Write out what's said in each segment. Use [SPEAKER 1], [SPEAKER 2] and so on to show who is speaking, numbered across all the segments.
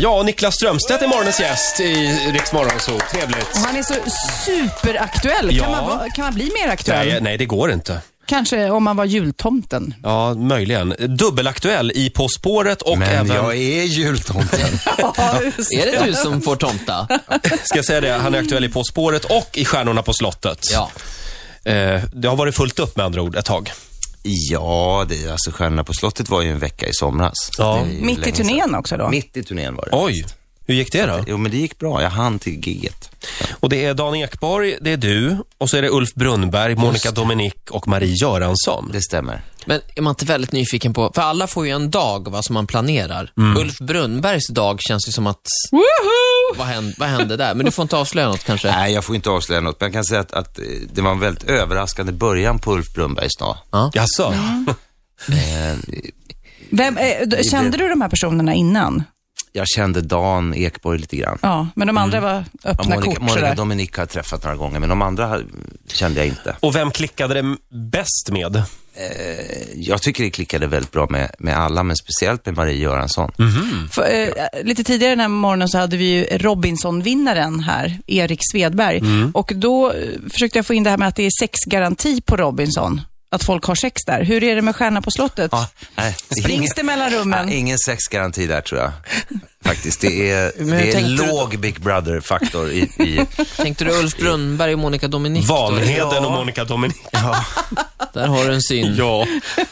[SPEAKER 1] Ja, och Niklas Strömstedt är morgonens gäst i Rix Morgonzoo. Trevligt.
[SPEAKER 2] Och han är så superaktuell.
[SPEAKER 1] Ja.
[SPEAKER 2] Kan, man, va- kan man bli mer aktuell?
[SPEAKER 1] Nej, nej, det går inte.
[SPEAKER 2] Kanske om man var jultomten.
[SPEAKER 1] Ja, möjligen. Dubbelaktuell i På spåret och
[SPEAKER 3] Men
[SPEAKER 1] även...
[SPEAKER 3] jag är jultomten.
[SPEAKER 4] Är det du som får tomta?
[SPEAKER 1] Ska jag säga det? Han är aktuell i På spåret och i Stjärnorna på slottet.
[SPEAKER 4] Ja.
[SPEAKER 1] Eh, det har varit fullt upp med andra ord ett tag.
[SPEAKER 3] ja, det är alltså Stjärnorna på slottet var ju en vecka i somras.
[SPEAKER 1] Ja.
[SPEAKER 3] Det är ju
[SPEAKER 2] Mitt i
[SPEAKER 3] länge sedan.
[SPEAKER 2] turnén också då?
[SPEAKER 3] Mitt i turnén var det.
[SPEAKER 1] Oj, hur gick det då?
[SPEAKER 3] Jo, men det gick bra. Jag hann till giget.
[SPEAKER 1] Och det är Dan Ekborg, det är du och så är det Ulf Brunnberg, Monica Dominic och Marie Göransson.
[SPEAKER 3] Det stämmer.
[SPEAKER 4] Men är man inte väldigt nyfiken på, för alla får ju en dag vad som man planerar. Ulf Brunnbergs dag känns ju som att,
[SPEAKER 2] Woho!
[SPEAKER 4] vad hände, vad hände där? Men du får inte avslöja något kanske?
[SPEAKER 3] Nej, jag får inte avslöja något, men jag kan säga att, att eh, det var en väldigt överraskande början på Ulf Brunnbergs dag.
[SPEAKER 1] Jaså?
[SPEAKER 2] Vem, eh, d- kände du de här personerna innan?
[SPEAKER 3] Jag kände Dan Ekborg lite grann.
[SPEAKER 2] Ja, men de andra var
[SPEAKER 3] Ja,
[SPEAKER 2] öppna
[SPEAKER 3] Monica,
[SPEAKER 2] kort sådär.
[SPEAKER 3] Monica Dominic har jag träffat några gånger, men de andra har- kände jag inte.
[SPEAKER 1] Och vem klickade det m- bäst med?
[SPEAKER 3] Jag tycker det klickade väldigt bra med, med alla, men speciellt med Marie Göransson.
[SPEAKER 2] Mm. För, eh, lite tidigare den här morgonen så hade vi ju Robinson-vinnaren här, Erik Svedberg. Och då eh, försökte jag få in det här med att det är sexgaranti på Robinson. Att folk har sex där. Hur är det med Stjärna på slottet?
[SPEAKER 3] Ja, nej,
[SPEAKER 2] Springs det mellan rummen?
[SPEAKER 3] Ja, ingen sexgaranti där tror jag. Faktiskt, det är, det är
[SPEAKER 4] tänkte du-
[SPEAKER 3] låg Big Brother-faktor i, i
[SPEAKER 4] Tänkte du Ulf Brunnberg och Monica Dominic? då?
[SPEAKER 1] Vanheden och Monica Dominic.
[SPEAKER 4] Där har du en syn.
[SPEAKER 1] Ja,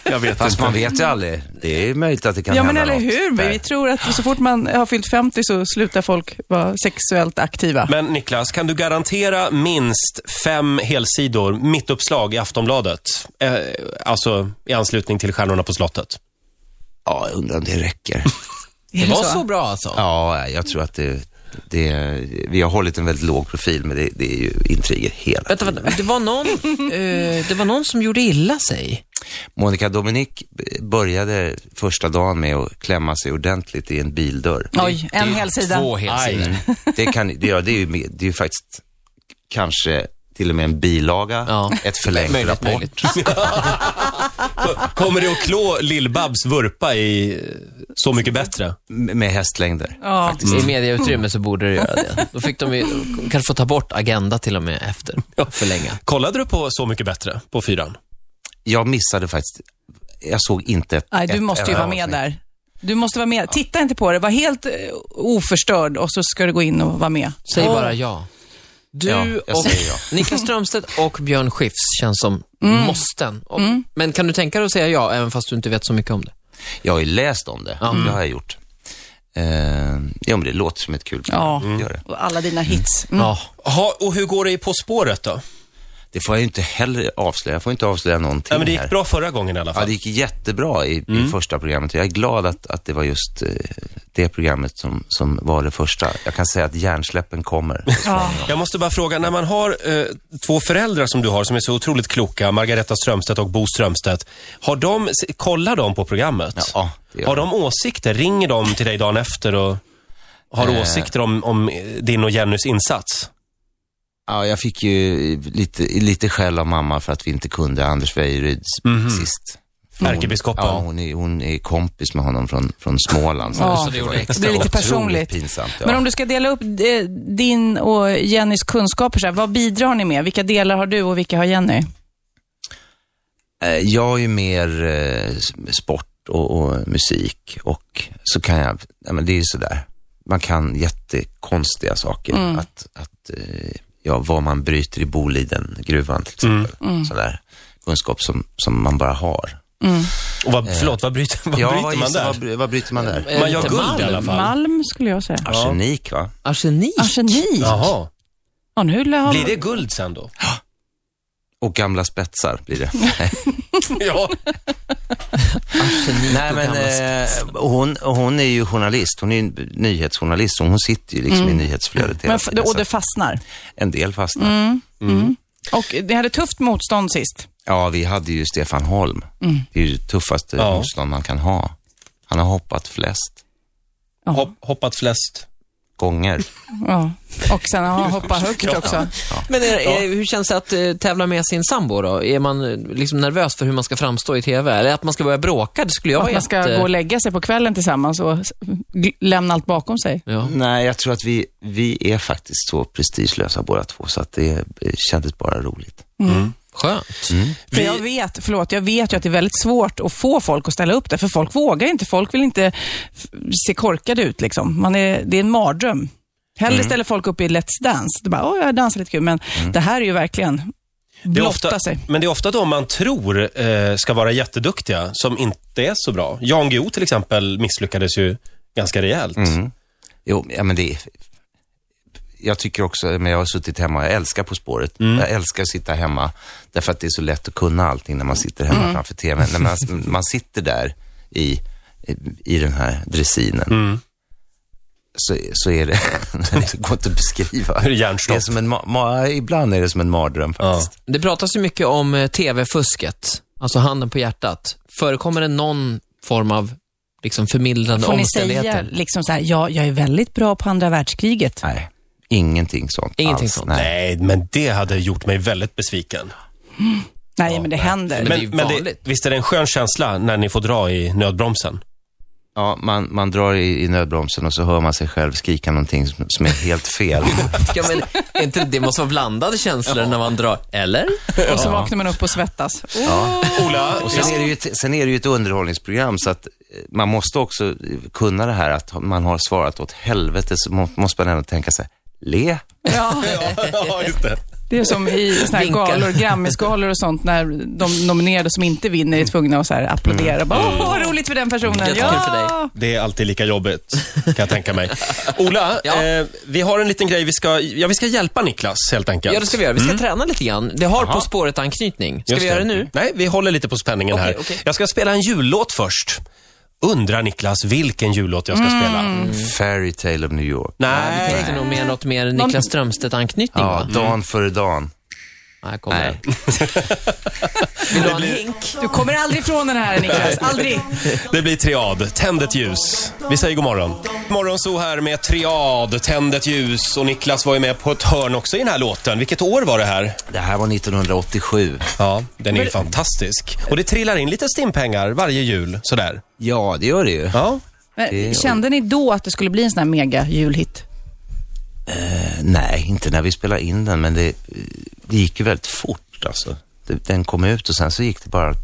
[SPEAKER 1] jag vet
[SPEAKER 3] Fast
[SPEAKER 1] inte.
[SPEAKER 3] man vet ju aldrig. Det är möjligt att det kan
[SPEAKER 2] Ja,
[SPEAKER 3] hända
[SPEAKER 2] men eller
[SPEAKER 3] något
[SPEAKER 2] hur?
[SPEAKER 3] där.
[SPEAKER 2] Vi tror att så fort man har fyllt 50 så slutar folk vara sexuellt aktiva.
[SPEAKER 1] Men Niklas, kan du garantera minst fem helsidor, mittuppslag i Aftonbladet? Eh, alltså i anslutning till Stjärnorna på slottet.
[SPEAKER 3] Ja, jag undrar om det räcker.
[SPEAKER 2] Är
[SPEAKER 4] Det
[SPEAKER 2] det
[SPEAKER 4] var
[SPEAKER 2] så?
[SPEAKER 4] så bra alltså?
[SPEAKER 3] ja, jag tror att det, det... Vi har hållit en väldigt låg profil, men det, det är ju intriger hela
[SPEAKER 4] Vänta, vänta. Det, var någon, eh, det var någon som gjorde illa sig.
[SPEAKER 3] Monica Dominic började första dagen med att klämma sig ordentligt i en bildörr. Mm.
[SPEAKER 2] Oj, en hel sida.
[SPEAKER 4] Två helsidor.
[SPEAKER 3] Det, kan, det, ja, det, är ju, med- det är ju faktiskt kanske till och med en bilaga,
[SPEAKER 4] Ja.
[SPEAKER 3] ett förlängt
[SPEAKER 4] Möjligt,
[SPEAKER 3] rapport.
[SPEAKER 4] möjligt.
[SPEAKER 1] Kommer det att klå Lill-Babs vurpa i eh, Så mycket bättre?
[SPEAKER 3] M- Med hästlängder.
[SPEAKER 2] Ja.
[SPEAKER 4] I mediautrymme så borde det göra det. Då fick de ju, kanske få ta bort Agenda till och med efter. Förlänga.
[SPEAKER 1] Kollade du på Så mycket bättre på fyran?
[SPEAKER 3] Jag missade faktiskt, jag såg inte ett
[SPEAKER 2] Nej, du
[SPEAKER 3] ett
[SPEAKER 2] måste ju
[SPEAKER 3] enda
[SPEAKER 2] vara med
[SPEAKER 3] avsnitt.
[SPEAKER 2] där. Du måste vara med. Titta inte på det. Var helt eh, oförstörd och så ska du gå in och vara med.
[SPEAKER 4] Säg
[SPEAKER 2] Åh,
[SPEAKER 4] bara ja. Du
[SPEAKER 3] Ja, jag
[SPEAKER 4] och
[SPEAKER 3] säger ja.
[SPEAKER 4] Niklas Strömstedt och Björn Skifs känns som måsten. Och, Men kan du tänka dig att säga ja, även fast du inte vet så mycket om det?
[SPEAKER 3] Jag har ju läst om det,
[SPEAKER 1] Mm.
[SPEAKER 3] det har jag gjort. Eh, ja, men det låter som ett kul
[SPEAKER 2] Ja.
[SPEAKER 3] program. Det Gör det.
[SPEAKER 2] Och alla dina hits. Mm.
[SPEAKER 4] Ja.
[SPEAKER 1] Jaha, och hur går det i På spåret då?
[SPEAKER 3] det får jag ju inte heller avslöja, jag får inte avslöja någonting
[SPEAKER 1] Nej, men det
[SPEAKER 3] här.
[SPEAKER 1] gick bra Mm. förra gången i alla
[SPEAKER 3] Ja,
[SPEAKER 1] fall.
[SPEAKER 3] det gick jättebra i, i första programmet. Jag är glad att, att det var just eh, det programmet som, som var det första. Jag kan säga att hjärnsläppen kommer.
[SPEAKER 2] Ja.
[SPEAKER 1] Jag måste bara fråga, när man har eh, två föräldrar som du har som är så otroligt kloka, Margareta Strömstedt och Bo Strömstedt, har de, s- kollar de på programmet?
[SPEAKER 3] Ja, det gör
[SPEAKER 1] har de åsikter? Ringer de till dig dagen efter och har
[SPEAKER 3] Eh.
[SPEAKER 1] åsikter om, om eh, din och Jennys insats?
[SPEAKER 3] Ja, jag fick ju lite, lite skäll av mamma för att vi inte kunde Anders Wejryds sist. För hon-
[SPEAKER 1] Mhm. Ärkebiskopen.
[SPEAKER 3] Ja, hon är, hon är kompis med honom från, från Småland.
[SPEAKER 2] Ja,
[SPEAKER 3] det var
[SPEAKER 2] Det blir lite
[SPEAKER 3] otroligt
[SPEAKER 2] personligt.
[SPEAKER 3] pinsamt. Ja.
[SPEAKER 2] Men om du ska dela upp eh, din och Jennys kunskaper, så här, vad bidrar ni med? Vilka delar har du och vilka har Jenny?
[SPEAKER 3] Eh, Jag är ju mer eh, s- sport och, och musik och så kan jag, ja, men det är ju sådär. Man kan jättekonstiga saker.
[SPEAKER 2] Mm.
[SPEAKER 3] Att, att, eh, ja, vad man bryter i Boliden, gruvan till
[SPEAKER 1] Mm.
[SPEAKER 3] exempel.
[SPEAKER 2] Mm.
[SPEAKER 3] Sådär kunskap som, som man bara har.
[SPEAKER 1] Och vad, förlåt, vad bryter, vad
[SPEAKER 3] Ja, vad
[SPEAKER 1] bryter man
[SPEAKER 3] gissar-
[SPEAKER 1] där?
[SPEAKER 3] Vad, bry- vad bryter man där?
[SPEAKER 4] Eh,
[SPEAKER 1] Man gör
[SPEAKER 4] lite
[SPEAKER 1] guld
[SPEAKER 4] malm.
[SPEAKER 1] i alla fall.
[SPEAKER 2] Mm. Malm skulle jag säga.
[SPEAKER 3] Arsenik va?
[SPEAKER 4] Arsenik?
[SPEAKER 2] Arsenik.
[SPEAKER 1] Jaha.
[SPEAKER 2] Ja, nu har...
[SPEAKER 1] Blir det guld sen då?
[SPEAKER 3] Och gamla spetsar blir det.
[SPEAKER 1] ja.
[SPEAKER 4] Arsenik
[SPEAKER 3] Nej,
[SPEAKER 4] och
[SPEAKER 3] men
[SPEAKER 4] gamla s-
[SPEAKER 3] eh, hon, hon är ju journalist. Hon är ju en nyhetsjournalist och hon sitter ju liksom i nyhetsflödet hela
[SPEAKER 2] Men, f-
[SPEAKER 3] tiden.
[SPEAKER 2] och
[SPEAKER 3] så
[SPEAKER 2] det
[SPEAKER 3] att
[SPEAKER 2] fastnar.
[SPEAKER 3] En del fastnar.
[SPEAKER 2] Och ni hade tufft motstånd sist.
[SPEAKER 3] Ja, vi hade ju Stefan Holm. Det är ju det tuffaste
[SPEAKER 1] Ja.
[SPEAKER 3] motstånd man kan ha. Han har hoppat flest.
[SPEAKER 1] Hopp, hoppat flest.
[SPEAKER 3] gånger.
[SPEAKER 2] Ja. Och sen ja, hoppa högt också.
[SPEAKER 4] Men är, är, hur känns det att eh, tävla med sin sambo då? Är man eh, liksom nervös för hur man ska framstå i TV? Eller att man ska börja bråka? Det skulle jag
[SPEAKER 2] Att
[SPEAKER 4] vara
[SPEAKER 2] man ska
[SPEAKER 4] jätte-
[SPEAKER 2] gå och lägga sig på kvällen tillsammans och s- gl- lämna allt bakom sig.
[SPEAKER 4] ja.
[SPEAKER 3] Nej, jag tror att vi, vi är faktiskt så prestigelösa båda två, så att det eh, kändes bara roligt.
[SPEAKER 4] Skönt.
[SPEAKER 2] För jag vet, förlåt, jag vet ju att det är väldigt svårt att få folk att ställa upp det, för folk vågar inte. Folk vill inte f- se korkade ut liksom. Man är, det är en mardröm. Hellre ställer folk upp i Let's Dance. Det bara, åh, jag dansar lite kul, men det här är ju verkligen
[SPEAKER 1] Det är
[SPEAKER 2] blotta
[SPEAKER 1] ofta,
[SPEAKER 2] sig.
[SPEAKER 1] men det är ofta de man tror eh, ska vara jätteduktiga som inte är så bra. Jan Guillou till exempel misslyckades ju ganska rejält.
[SPEAKER 3] Jo, ja, men det är... Jag tycker också, men jag har suttit hemma, jag älskar På spåret. Jag älskar att sitta hemma, därför att det är så lätt att kunna allting när man sitter hemma framför TVn. När man, man sitter där i, i, i den här dressinen, så, så är det, det går inte att beskriva.
[SPEAKER 1] Hur hjärnstopp.
[SPEAKER 3] Det är som en, ma- ma- ibland är det som en mardröm faktiskt.
[SPEAKER 4] Det pratas ju mycket om eh, TV-fusket. Alltså handen på hjärtat. Förekommer det någon form av liksom förmildrande
[SPEAKER 2] Får ni säga
[SPEAKER 4] omständigheter?
[SPEAKER 2] liksom så här, ja, jag är väldigt bra på andra världskriget.
[SPEAKER 3] Nej, ingenting sånt
[SPEAKER 4] Ingenting
[SPEAKER 3] alls.
[SPEAKER 4] sånt.
[SPEAKER 3] Nej.
[SPEAKER 1] Nej, men det hade gjort mig väldigt besviken.
[SPEAKER 2] Nej, men det händer.
[SPEAKER 4] Men det är ju vanligt.
[SPEAKER 1] visst är det en skön känsla när ni får dra i nödbromsen?
[SPEAKER 3] Ja, man, man drar i, i nödbromsen och så hör man sig själv skrika någonting som, som är helt fel.
[SPEAKER 4] Ja, men, är inte, det- det måste vara blandade känslor när man drar, eller?
[SPEAKER 2] Och så vaknar man upp och svettas. Oh,
[SPEAKER 1] Ola,
[SPEAKER 3] Och sen är, det ju ett, sen är det ju ett underhållningsprogram så att eh, man måste också eh, kunna det här att man har svarat åt helvete så må, måste man ändå tänka sig, le?
[SPEAKER 2] ja.
[SPEAKER 1] ja, just det.
[SPEAKER 2] Det är som i såna här
[SPEAKER 4] Vinkar.
[SPEAKER 2] galor, Grammisgalor och sånt, när de nominerade som inte vinner är tvungna att så här applådera. Bara, Åh, vad roligt för den personen.
[SPEAKER 4] Jag tycker
[SPEAKER 2] ja.
[SPEAKER 4] Mm. för dig.
[SPEAKER 1] Det är alltid lika jobbigt, kan jag tänka mig. Ola,
[SPEAKER 4] Ja.
[SPEAKER 1] eh, vi har en liten grej. Vi ska, ja, vi ska hjälpa Niklas, helt enkelt.
[SPEAKER 4] Ja, det ska vi göra. Vi ska träna lite grann. Det har På spåret-anknytning. Ska
[SPEAKER 1] Just
[SPEAKER 4] vi göra det nu?
[SPEAKER 1] Nej, vi håller lite på spänningen
[SPEAKER 4] Okej,
[SPEAKER 1] här.
[SPEAKER 4] okej.
[SPEAKER 1] Jag ska spela en jullåt först. Undrar Niklas vilken jullåt jag ska spela?
[SPEAKER 3] Fairy Tale of New York.
[SPEAKER 4] Det
[SPEAKER 1] Nej,
[SPEAKER 4] är nog mer något mer Niklas Strömstedt-anknytning,
[SPEAKER 3] Ja,
[SPEAKER 4] va?
[SPEAKER 3] Mm. dan före dan.
[SPEAKER 4] Ja, här kommer
[SPEAKER 3] Nej.
[SPEAKER 4] den. Vill du ha en hink?
[SPEAKER 2] Du kommer aldrig ifrån den här Niklas, aldrig.
[SPEAKER 1] det blir Triad. Tänd ett ljus. Vi säger god morgon. Morgon så här med Triad, Tänd ett ljus. Och Niklas var ju med på ett hörn också i den här låten. Vilket år var det här?
[SPEAKER 3] Det här var 1987.
[SPEAKER 1] Ja, den är ju fantastisk. Och det trillar in lite stimpengar varje jul, sådär.
[SPEAKER 3] Ja, det gör det ju.
[SPEAKER 1] Ja.
[SPEAKER 2] Men, kände ni då att det skulle bli en sån här mega julhit?
[SPEAKER 3] Eh, Nej, inte när vi spelade in den, men det, eh, det gick ju väldigt fort alltså. Det, den kom ut och sen så gick det bara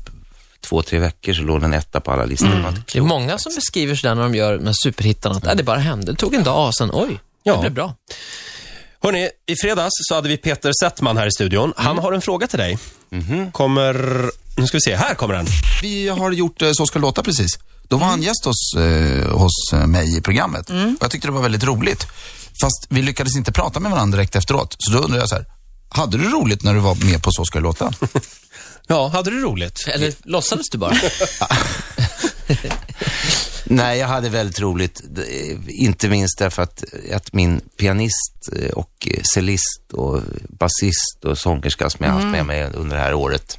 [SPEAKER 3] två, tre veckor så låg den etta på alla listor. Man-
[SPEAKER 4] Det är många som beskriver sådär när de gör med superhittarna, att äh, det bara hände. Det tog en dag, sen oj,
[SPEAKER 1] Ja.
[SPEAKER 4] det blev bra.
[SPEAKER 1] Hörni, i fredags så hade vi Peter Settman här i studion. Han har en fråga till dig. Kommer... Nu ska vi se, här kommer den.
[SPEAKER 5] Vi har gjort eh, Så ska det låta precis. Då var han gäst hos, eh, hos eh, mig i programmet. Och jag tyckte det var väldigt roligt. Fast vi lyckades inte prata med varandra direkt efteråt. Så då undrar jag så här, hade du roligt när du var med på Så ska det låta?
[SPEAKER 1] Ja, hade du roligt?
[SPEAKER 4] Eller låtsades du bara?
[SPEAKER 3] Nej, jag hade väldigt roligt. D- eh, Inte minst därför att, att min pianist eh, och eh, cellist och basist och sångerska som jag haft med mig under det här året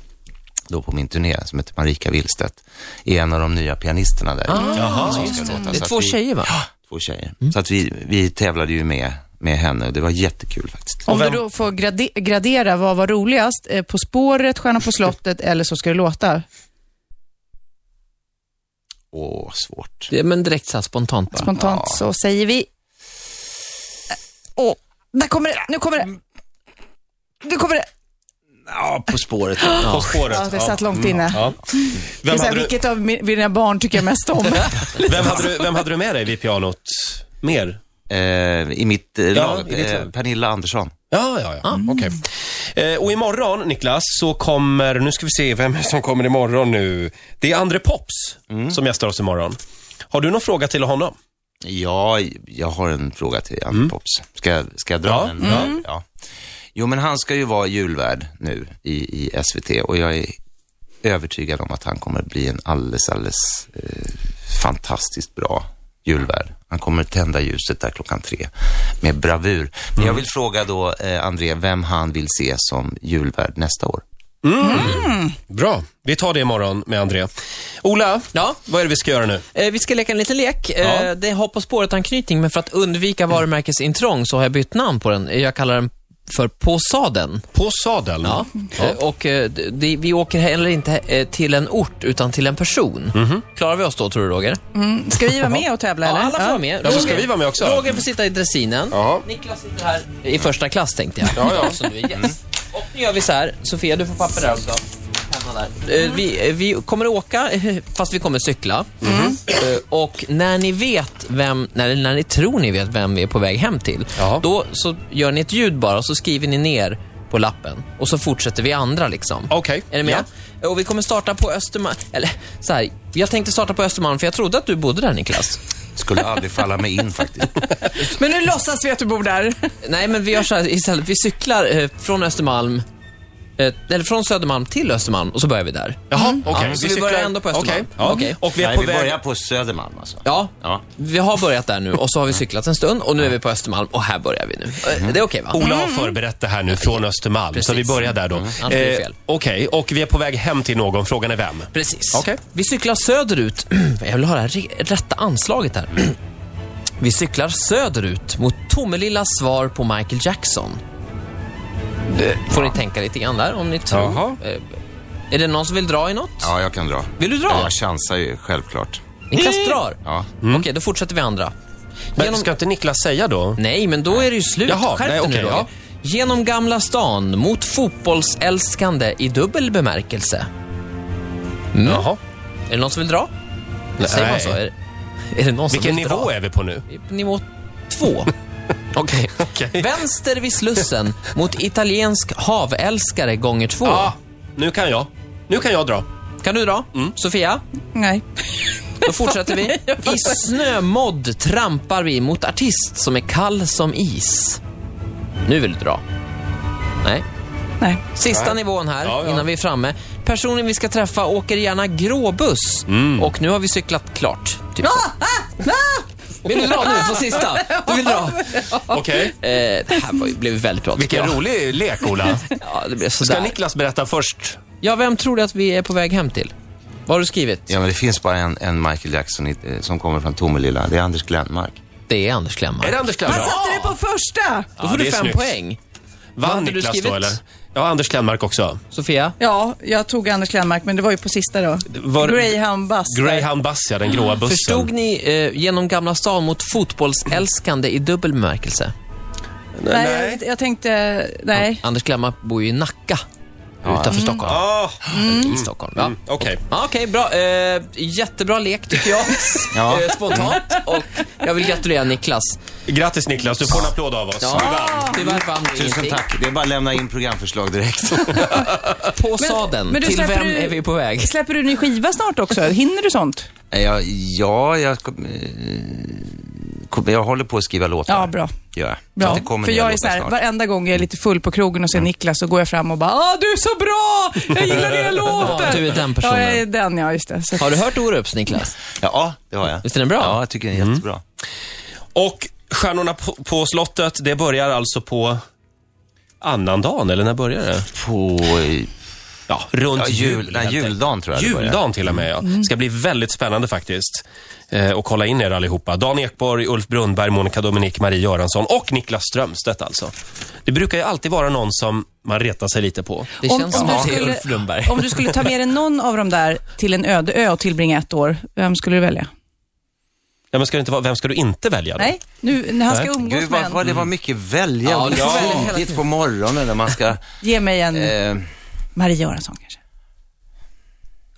[SPEAKER 3] då på min turné som heter Marika Willstedt är en av de nya pianisterna där.
[SPEAKER 1] Jaha.
[SPEAKER 4] Det är två tjejer, va?
[SPEAKER 3] Två tjejer. Så att vi, vi tävlade ju med, med henne och det var jättekul faktiskt.
[SPEAKER 2] Om
[SPEAKER 1] vem-
[SPEAKER 2] du då får grade- gradera, vad var roligast? Eh, På spåret, Stjärna på slottet eller Så ska det låta?
[SPEAKER 3] Åh, svårt.
[SPEAKER 4] Det, men direkt så här spontant bara.
[SPEAKER 2] Spontant så säger vi... Åh, där kommer det, nu kommer det. Nu kommer det.
[SPEAKER 3] Ja, På spåret.
[SPEAKER 1] På spåret.
[SPEAKER 2] Ja, det satt långt inne.
[SPEAKER 1] Ja.
[SPEAKER 2] Det är
[SPEAKER 1] Vem,
[SPEAKER 2] så här,
[SPEAKER 1] hade du,
[SPEAKER 2] vilket av mi- mina barn tycker jag mest om?
[SPEAKER 1] vem, hade du, vem hade du med dig vid pianot? Mer?
[SPEAKER 3] eh, I mitt eh,
[SPEAKER 1] Ja,
[SPEAKER 3] lag,
[SPEAKER 1] i ditt
[SPEAKER 3] eh,
[SPEAKER 1] lag.
[SPEAKER 3] Pernilla Andersson.
[SPEAKER 1] Ja, ja, ja. Okej. Eh, och imorgon, Niklas, så kommer... Nu ska vi se vem som kommer imorgon nu. Det är André Pops som gästar oss imorgon. Har du någon fråga till honom?
[SPEAKER 3] Ja, jag har en fråga till Ann Pops. Ska, jag- ska jag dra
[SPEAKER 1] Mm. Ja, Mm.
[SPEAKER 3] den? Ja. Jo, men han ska ju vara julvärd nu i, i SVT och jag är övertygad om att han kommer bli en alldeles, alldeles eh, fantastiskt bra julvärd. Han kommer tända ljuset där klockan tre med
[SPEAKER 1] Mm.
[SPEAKER 3] bravur. Men jag vill fråga då, eh, André, vem han vill se som julvärd nästa år.
[SPEAKER 1] Bra. Vi tar det imorgon med André. Ola,
[SPEAKER 4] Ja.
[SPEAKER 1] vad är det vi ska göra nu?
[SPEAKER 4] Eh, vi ska leka en liten lek.
[SPEAKER 1] Ja.
[SPEAKER 4] Eh, det har På spåret-anknytning, men för att undvika varumärkesintrång så har jag bytt namn på den. Jag kallar den för På sadeln.
[SPEAKER 1] På sadeln.
[SPEAKER 4] Ja. Eh, Och eh, d- det, vi åker heller inte eh, till en ort, utan till en person.
[SPEAKER 1] Mhm.
[SPEAKER 4] Klarar vi oss då, tror du, Roger?
[SPEAKER 2] Mm. Ska vi vara med och tävla
[SPEAKER 4] Ja,
[SPEAKER 2] eller?
[SPEAKER 4] alla får vara med.
[SPEAKER 1] Ja, så
[SPEAKER 4] Roger-
[SPEAKER 1] ska vi vara med också.
[SPEAKER 4] Roger får sitta i dressinen.
[SPEAKER 1] Ja.
[SPEAKER 4] Niklas sitter här Mm. i första klass, tänkte jag.
[SPEAKER 1] Ja, ja.
[SPEAKER 4] Som du är gäst. Och nu gör vi så här. Sofia, du får papper där också. Penna Där. Eh, Vi, eh, vi kommer att åka, eh, fast vi kommer cykla.
[SPEAKER 1] Mm.
[SPEAKER 4] Eh, Och när ni vet vem, när, när ni tror ni vet vem vi är på väg hem till,
[SPEAKER 1] Ja.
[SPEAKER 4] då så gör ni ett ljud bara och så skriver ni ner på lappen. Och så fortsätter vi andra liksom.
[SPEAKER 1] Okej.
[SPEAKER 4] Är ni med? Och vi kommer starta på Östermalm. Eller så här, jag tänkte starta på Östermalm för jag trodde att du bodde där Niklas.
[SPEAKER 3] Skulle aldrig falla mig in faktiskt.
[SPEAKER 2] Men nu låtsas vi att du bor där.
[SPEAKER 4] Nej, men vi gör så här istället. Vi cyklar eh, från Östermalm, eh, eller från Södermalm till Östermalm och så börjar vi där.
[SPEAKER 1] Jaha, okej.
[SPEAKER 4] Ja, så vi
[SPEAKER 1] cyklar-
[SPEAKER 4] börjar ändå på Östermalm.
[SPEAKER 1] Okej, ja.
[SPEAKER 4] Okej.
[SPEAKER 1] Och vi är
[SPEAKER 3] Nej,
[SPEAKER 1] på
[SPEAKER 3] vi
[SPEAKER 1] väg...
[SPEAKER 3] börjar på Södermalm alltså.
[SPEAKER 4] Ja,
[SPEAKER 3] Ja.
[SPEAKER 4] vi har börjat där nu och så har vi cyklat en stund och nu är vi på Östermalm och här börjar vi nu. Eh, Det är okej va?
[SPEAKER 1] Ola har förberett det här nu från Östermalm, så
[SPEAKER 4] Precis.
[SPEAKER 1] vi börjar där då.
[SPEAKER 4] annars blir det
[SPEAKER 1] Eh,
[SPEAKER 4] fel.
[SPEAKER 1] Okej, och vi är på väg hem till någon. Frågan är vem?
[SPEAKER 4] Precis.
[SPEAKER 1] Okej.
[SPEAKER 4] Vi cyklar söderut. Jag vill ha det här re- rätta anslaget här. Vi cyklar söderut mot Tomelillas svar på Michael Jackson. Får ni tänka lite grann där om ni tror.
[SPEAKER 1] Jaha.
[SPEAKER 4] Eh, Är det någon som vill dra i något?
[SPEAKER 3] Ja, jag kan dra.
[SPEAKER 4] Vill du dra?
[SPEAKER 3] Jag chansar ju, självklart.
[SPEAKER 4] Niklas drar.
[SPEAKER 3] Ja.
[SPEAKER 4] Okej, då fortsätter vi andra.
[SPEAKER 1] Mm. Men
[SPEAKER 4] Genom... Mm.
[SPEAKER 1] ska inte Niklas säga då?
[SPEAKER 4] Nej, men då är det ju slut.
[SPEAKER 1] Jaha,
[SPEAKER 4] Skärp
[SPEAKER 1] nej,
[SPEAKER 4] dig
[SPEAKER 1] okej,
[SPEAKER 4] nu, Roger.
[SPEAKER 1] ja.
[SPEAKER 4] Genom Gamla stan mot fotbollsälskande i dubbel bemärkelse. Mm.
[SPEAKER 1] Jaha.
[SPEAKER 4] Är det någon som vill dra? Nej. Säger man så? Är, är det någon som
[SPEAKER 1] Vilken
[SPEAKER 4] vill
[SPEAKER 1] nivå
[SPEAKER 4] dra?
[SPEAKER 1] är vi på nu?
[SPEAKER 4] Vi är på nivå två. Okej. Vänster vid Slussen mot italiensk havälskare gånger två.
[SPEAKER 1] Ja, Ah, Mm. nu kan jag. Nu kan jag dra.
[SPEAKER 4] Kan du dra? Sofia?
[SPEAKER 2] Nej.
[SPEAKER 4] Då fortsätter vi. I snömodd trampar vi mot artist som är kall som is. Nu vill du dra. Nej.
[SPEAKER 2] Nej.
[SPEAKER 4] Sista nivån här,
[SPEAKER 1] Ja, ja.
[SPEAKER 4] innan vi är framme. Personen vi ska träffa åker gärna gråbuss.
[SPEAKER 1] Mm.
[SPEAKER 4] Och nu har vi cyklat klart. Typ så. Vill du dra nu på sista? Du vill dra?
[SPEAKER 1] Okej.
[SPEAKER 4] Eh, det här var, ju- blev väldigt bra. tycker
[SPEAKER 1] Vilken
[SPEAKER 4] jag.
[SPEAKER 1] rolig lek, Ola.
[SPEAKER 4] Ja, det blev
[SPEAKER 1] Ska
[SPEAKER 4] sådär.
[SPEAKER 1] Niklas berätta först?
[SPEAKER 4] Ja, vem tror du att vi är på väg hem till? Vad har du skrivit?
[SPEAKER 3] Ja, men det finns bara en, en Michael Jackson i, eh, som kommer från Tomelilla. Det är Anders Glenmark.
[SPEAKER 4] Det är Anders Glenmark.
[SPEAKER 1] Är det Anders
[SPEAKER 2] Han
[SPEAKER 1] Glenmark?
[SPEAKER 2] satte det på första.
[SPEAKER 4] Då får
[SPEAKER 1] Ja, det
[SPEAKER 4] du
[SPEAKER 1] är
[SPEAKER 4] fem
[SPEAKER 1] snyggt.
[SPEAKER 4] poäng. Vad
[SPEAKER 1] Vann
[SPEAKER 4] hade du
[SPEAKER 1] Niklas då,
[SPEAKER 4] skrivit?
[SPEAKER 1] eller? Ja, Anders Glenmark också.
[SPEAKER 4] Sofia?
[SPEAKER 2] Ja, jag tog Anders Glenmark, men det var ju på sista då.
[SPEAKER 1] var-
[SPEAKER 2] Greyhound Bus.
[SPEAKER 1] Greyhound Bus, ja, den gråa bussen.
[SPEAKER 4] Förstod ni eh, genom Gamla stan mot fotbollsälskande i dubbel bemärkelse?
[SPEAKER 2] Nej, Jag, jag tänkte... Nej.
[SPEAKER 4] Anders Glenmark bor ju i Nacka.
[SPEAKER 3] Mm.
[SPEAKER 4] Utanför Stockholm.
[SPEAKER 1] Ah,
[SPEAKER 4] I Stockholm. Ja.
[SPEAKER 1] Okej.
[SPEAKER 4] Ja, Okej, bra. Eh, jättebra lek tycker jag.
[SPEAKER 3] Ja.
[SPEAKER 4] eh, spontant. Och jag vill gratulera Niklas.
[SPEAKER 1] Grattis Niklas, du får en applåd av oss.
[SPEAKER 4] Ja.
[SPEAKER 1] Du vann.
[SPEAKER 4] Tyvärr vann du
[SPEAKER 3] Tusen
[SPEAKER 4] ingenting.
[SPEAKER 3] tack. Det är bara att lämna in programförslag direkt.
[SPEAKER 4] På sadeln.
[SPEAKER 2] men du
[SPEAKER 4] Till
[SPEAKER 2] släpper
[SPEAKER 4] vem
[SPEAKER 2] du-
[SPEAKER 4] är vi på väg?
[SPEAKER 2] Släpper du ny skiva snart också? Hinner du sånt?
[SPEAKER 3] ja, ja, jag, kom- eh, kom- jag håller på att skriva låtar.
[SPEAKER 2] Ja, bra.
[SPEAKER 3] Gör jag. Så
[SPEAKER 2] Bra,
[SPEAKER 3] att det kommer
[SPEAKER 2] för
[SPEAKER 3] nya
[SPEAKER 2] jag är
[SPEAKER 3] låtar
[SPEAKER 2] så här,
[SPEAKER 3] snart.
[SPEAKER 2] varenda gång jag är lite full på krogen och ser Niklas så går jag fram och bara Åh, du är så bra! Jag gillar dina låtar!
[SPEAKER 4] du är den personen.
[SPEAKER 2] Ja, jag är den, ja, just det. Så.
[SPEAKER 4] Har du hört Orups, Niklas?
[SPEAKER 3] Ja, det har jag.
[SPEAKER 4] Visst är den bra?
[SPEAKER 3] Ja, jag tycker den är jättebra.
[SPEAKER 1] Och Stjärnorna på, på slottet, det börjar alltså på annandagen, eller när börjar det?
[SPEAKER 3] På eh,
[SPEAKER 1] Ja, runt
[SPEAKER 3] ja, jul,
[SPEAKER 1] jul.
[SPEAKER 3] nej,
[SPEAKER 1] helt enkelt.
[SPEAKER 3] juldagen tror jag det börjar. Mm.
[SPEAKER 1] Juldagen till och med, ja. ska bli väldigt spännande faktiskt. Eh, och kolla in er allihopa. Dan Ekborg, Ulf Brunnberg, Monica Dominik, Marie Göransson och Niklas Strömstedt alltså. Det brukar ju alltid vara någon som man retar sig lite på.
[SPEAKER 4] Det
[SPEAKER 2] Om-
[SPEAKER 4] känns
[SPEAKER 2] om
[SPEAKER 4] som
[SPEAKER 2] du
[SPEAKER 4] att det är
[SPEAKER 2] skulle-
[SPEAKER 4] Ulf Lundberg.
[SPEAKER 2] Om du skulle ta med dig någon av dem där till en öde ö och tillbringa ett år, vem skulle du välja?
[SPEAKER 1] Ja, men ska det inte vara, vem ska du inte välja då?
[SPEAKER 2] Nej, nu när han ska
[SPEAKER 1] Nej.
[SPEAKER 2] umgås
[SPEAKER 3] Gud,
[SPEAKER 2] med
[SPEAKER 3] vad,
[SPEAKER 2] en.
[SPEAKER 3] vad det var mycket välja.
[SPEAKER 4] Ja,
[SPEAKER 3] Ja,
[SPEAKER 4] det var väldigt hela
[SPEAKER 3] tidigt på morgonen när man ska...
[SPEAKER 2] Ge mig en
[SPEAKER 3] Eh,
[SPEAKER 2] Marie Göransson kanske.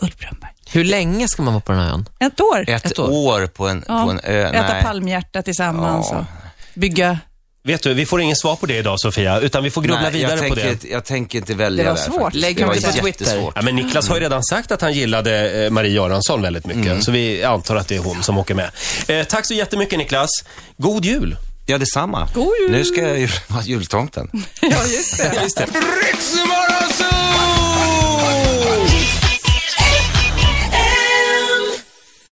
[SPEAKER 2] Ulf Brunnberg.
[SPEAKER 4] Hur länge ska man vara på den här ön?
[SPEAKER 2] Ett år.
[SPEAKER 3] ett
[SPEAKER 4] Ett år.
[SPEAKER 3] eh, år, på, en,
[SPEAKER 2] Ja.
[SPEAKER 3] på en ö.
[SPEAKER 2] Äta
[SPEAKER 3] Nej.
[SPEAKER 2] palmhjärta tillsammans
[SPEAKER 3] Ja.
[SPEAKER 2] och bygga.
[SPEAKER 1] Vet du, vi får ingen svar på det idag Sofia, utan vi får grubbla
[SPEAKER 3] Nej,
[SPEAKER 1] vidare
[SPEAKER 3] jag
[SPEAKER 1] på
[SPEAKER 3] tänker,
[SPEAKER 1] det.
[SPEAKER 3] inte- Jag tänker inte välja
[SPEAKER 2] Det var
[SPEAKER 3] där,
[SPEAKER 2] svårt.
[SPEAKER 3] faktiskt.
[SPEAKER 4] Lägg
[SPEAKER 3] det var
[SPEAKER 4] ut det på Twitter.
[SPEAKER 3] jättesvårt.
[SPEAKER 1] Ja, men Niklas har ju redan sagt att han gillade eh, Marie Göransson väldigt mycket, så vi antar att det är hon som åker med. Eh, tack så jättemycket Niklas. God jul!
[SPEAKER 3] Ja, detsamma.
[SPEAKER 2] God jul.
[SPEAKER 3] Nu ska jag ju vara jultomten.
[SPEAKER 2] Ja, just det.
[SPEAKER 3] Riksmorgon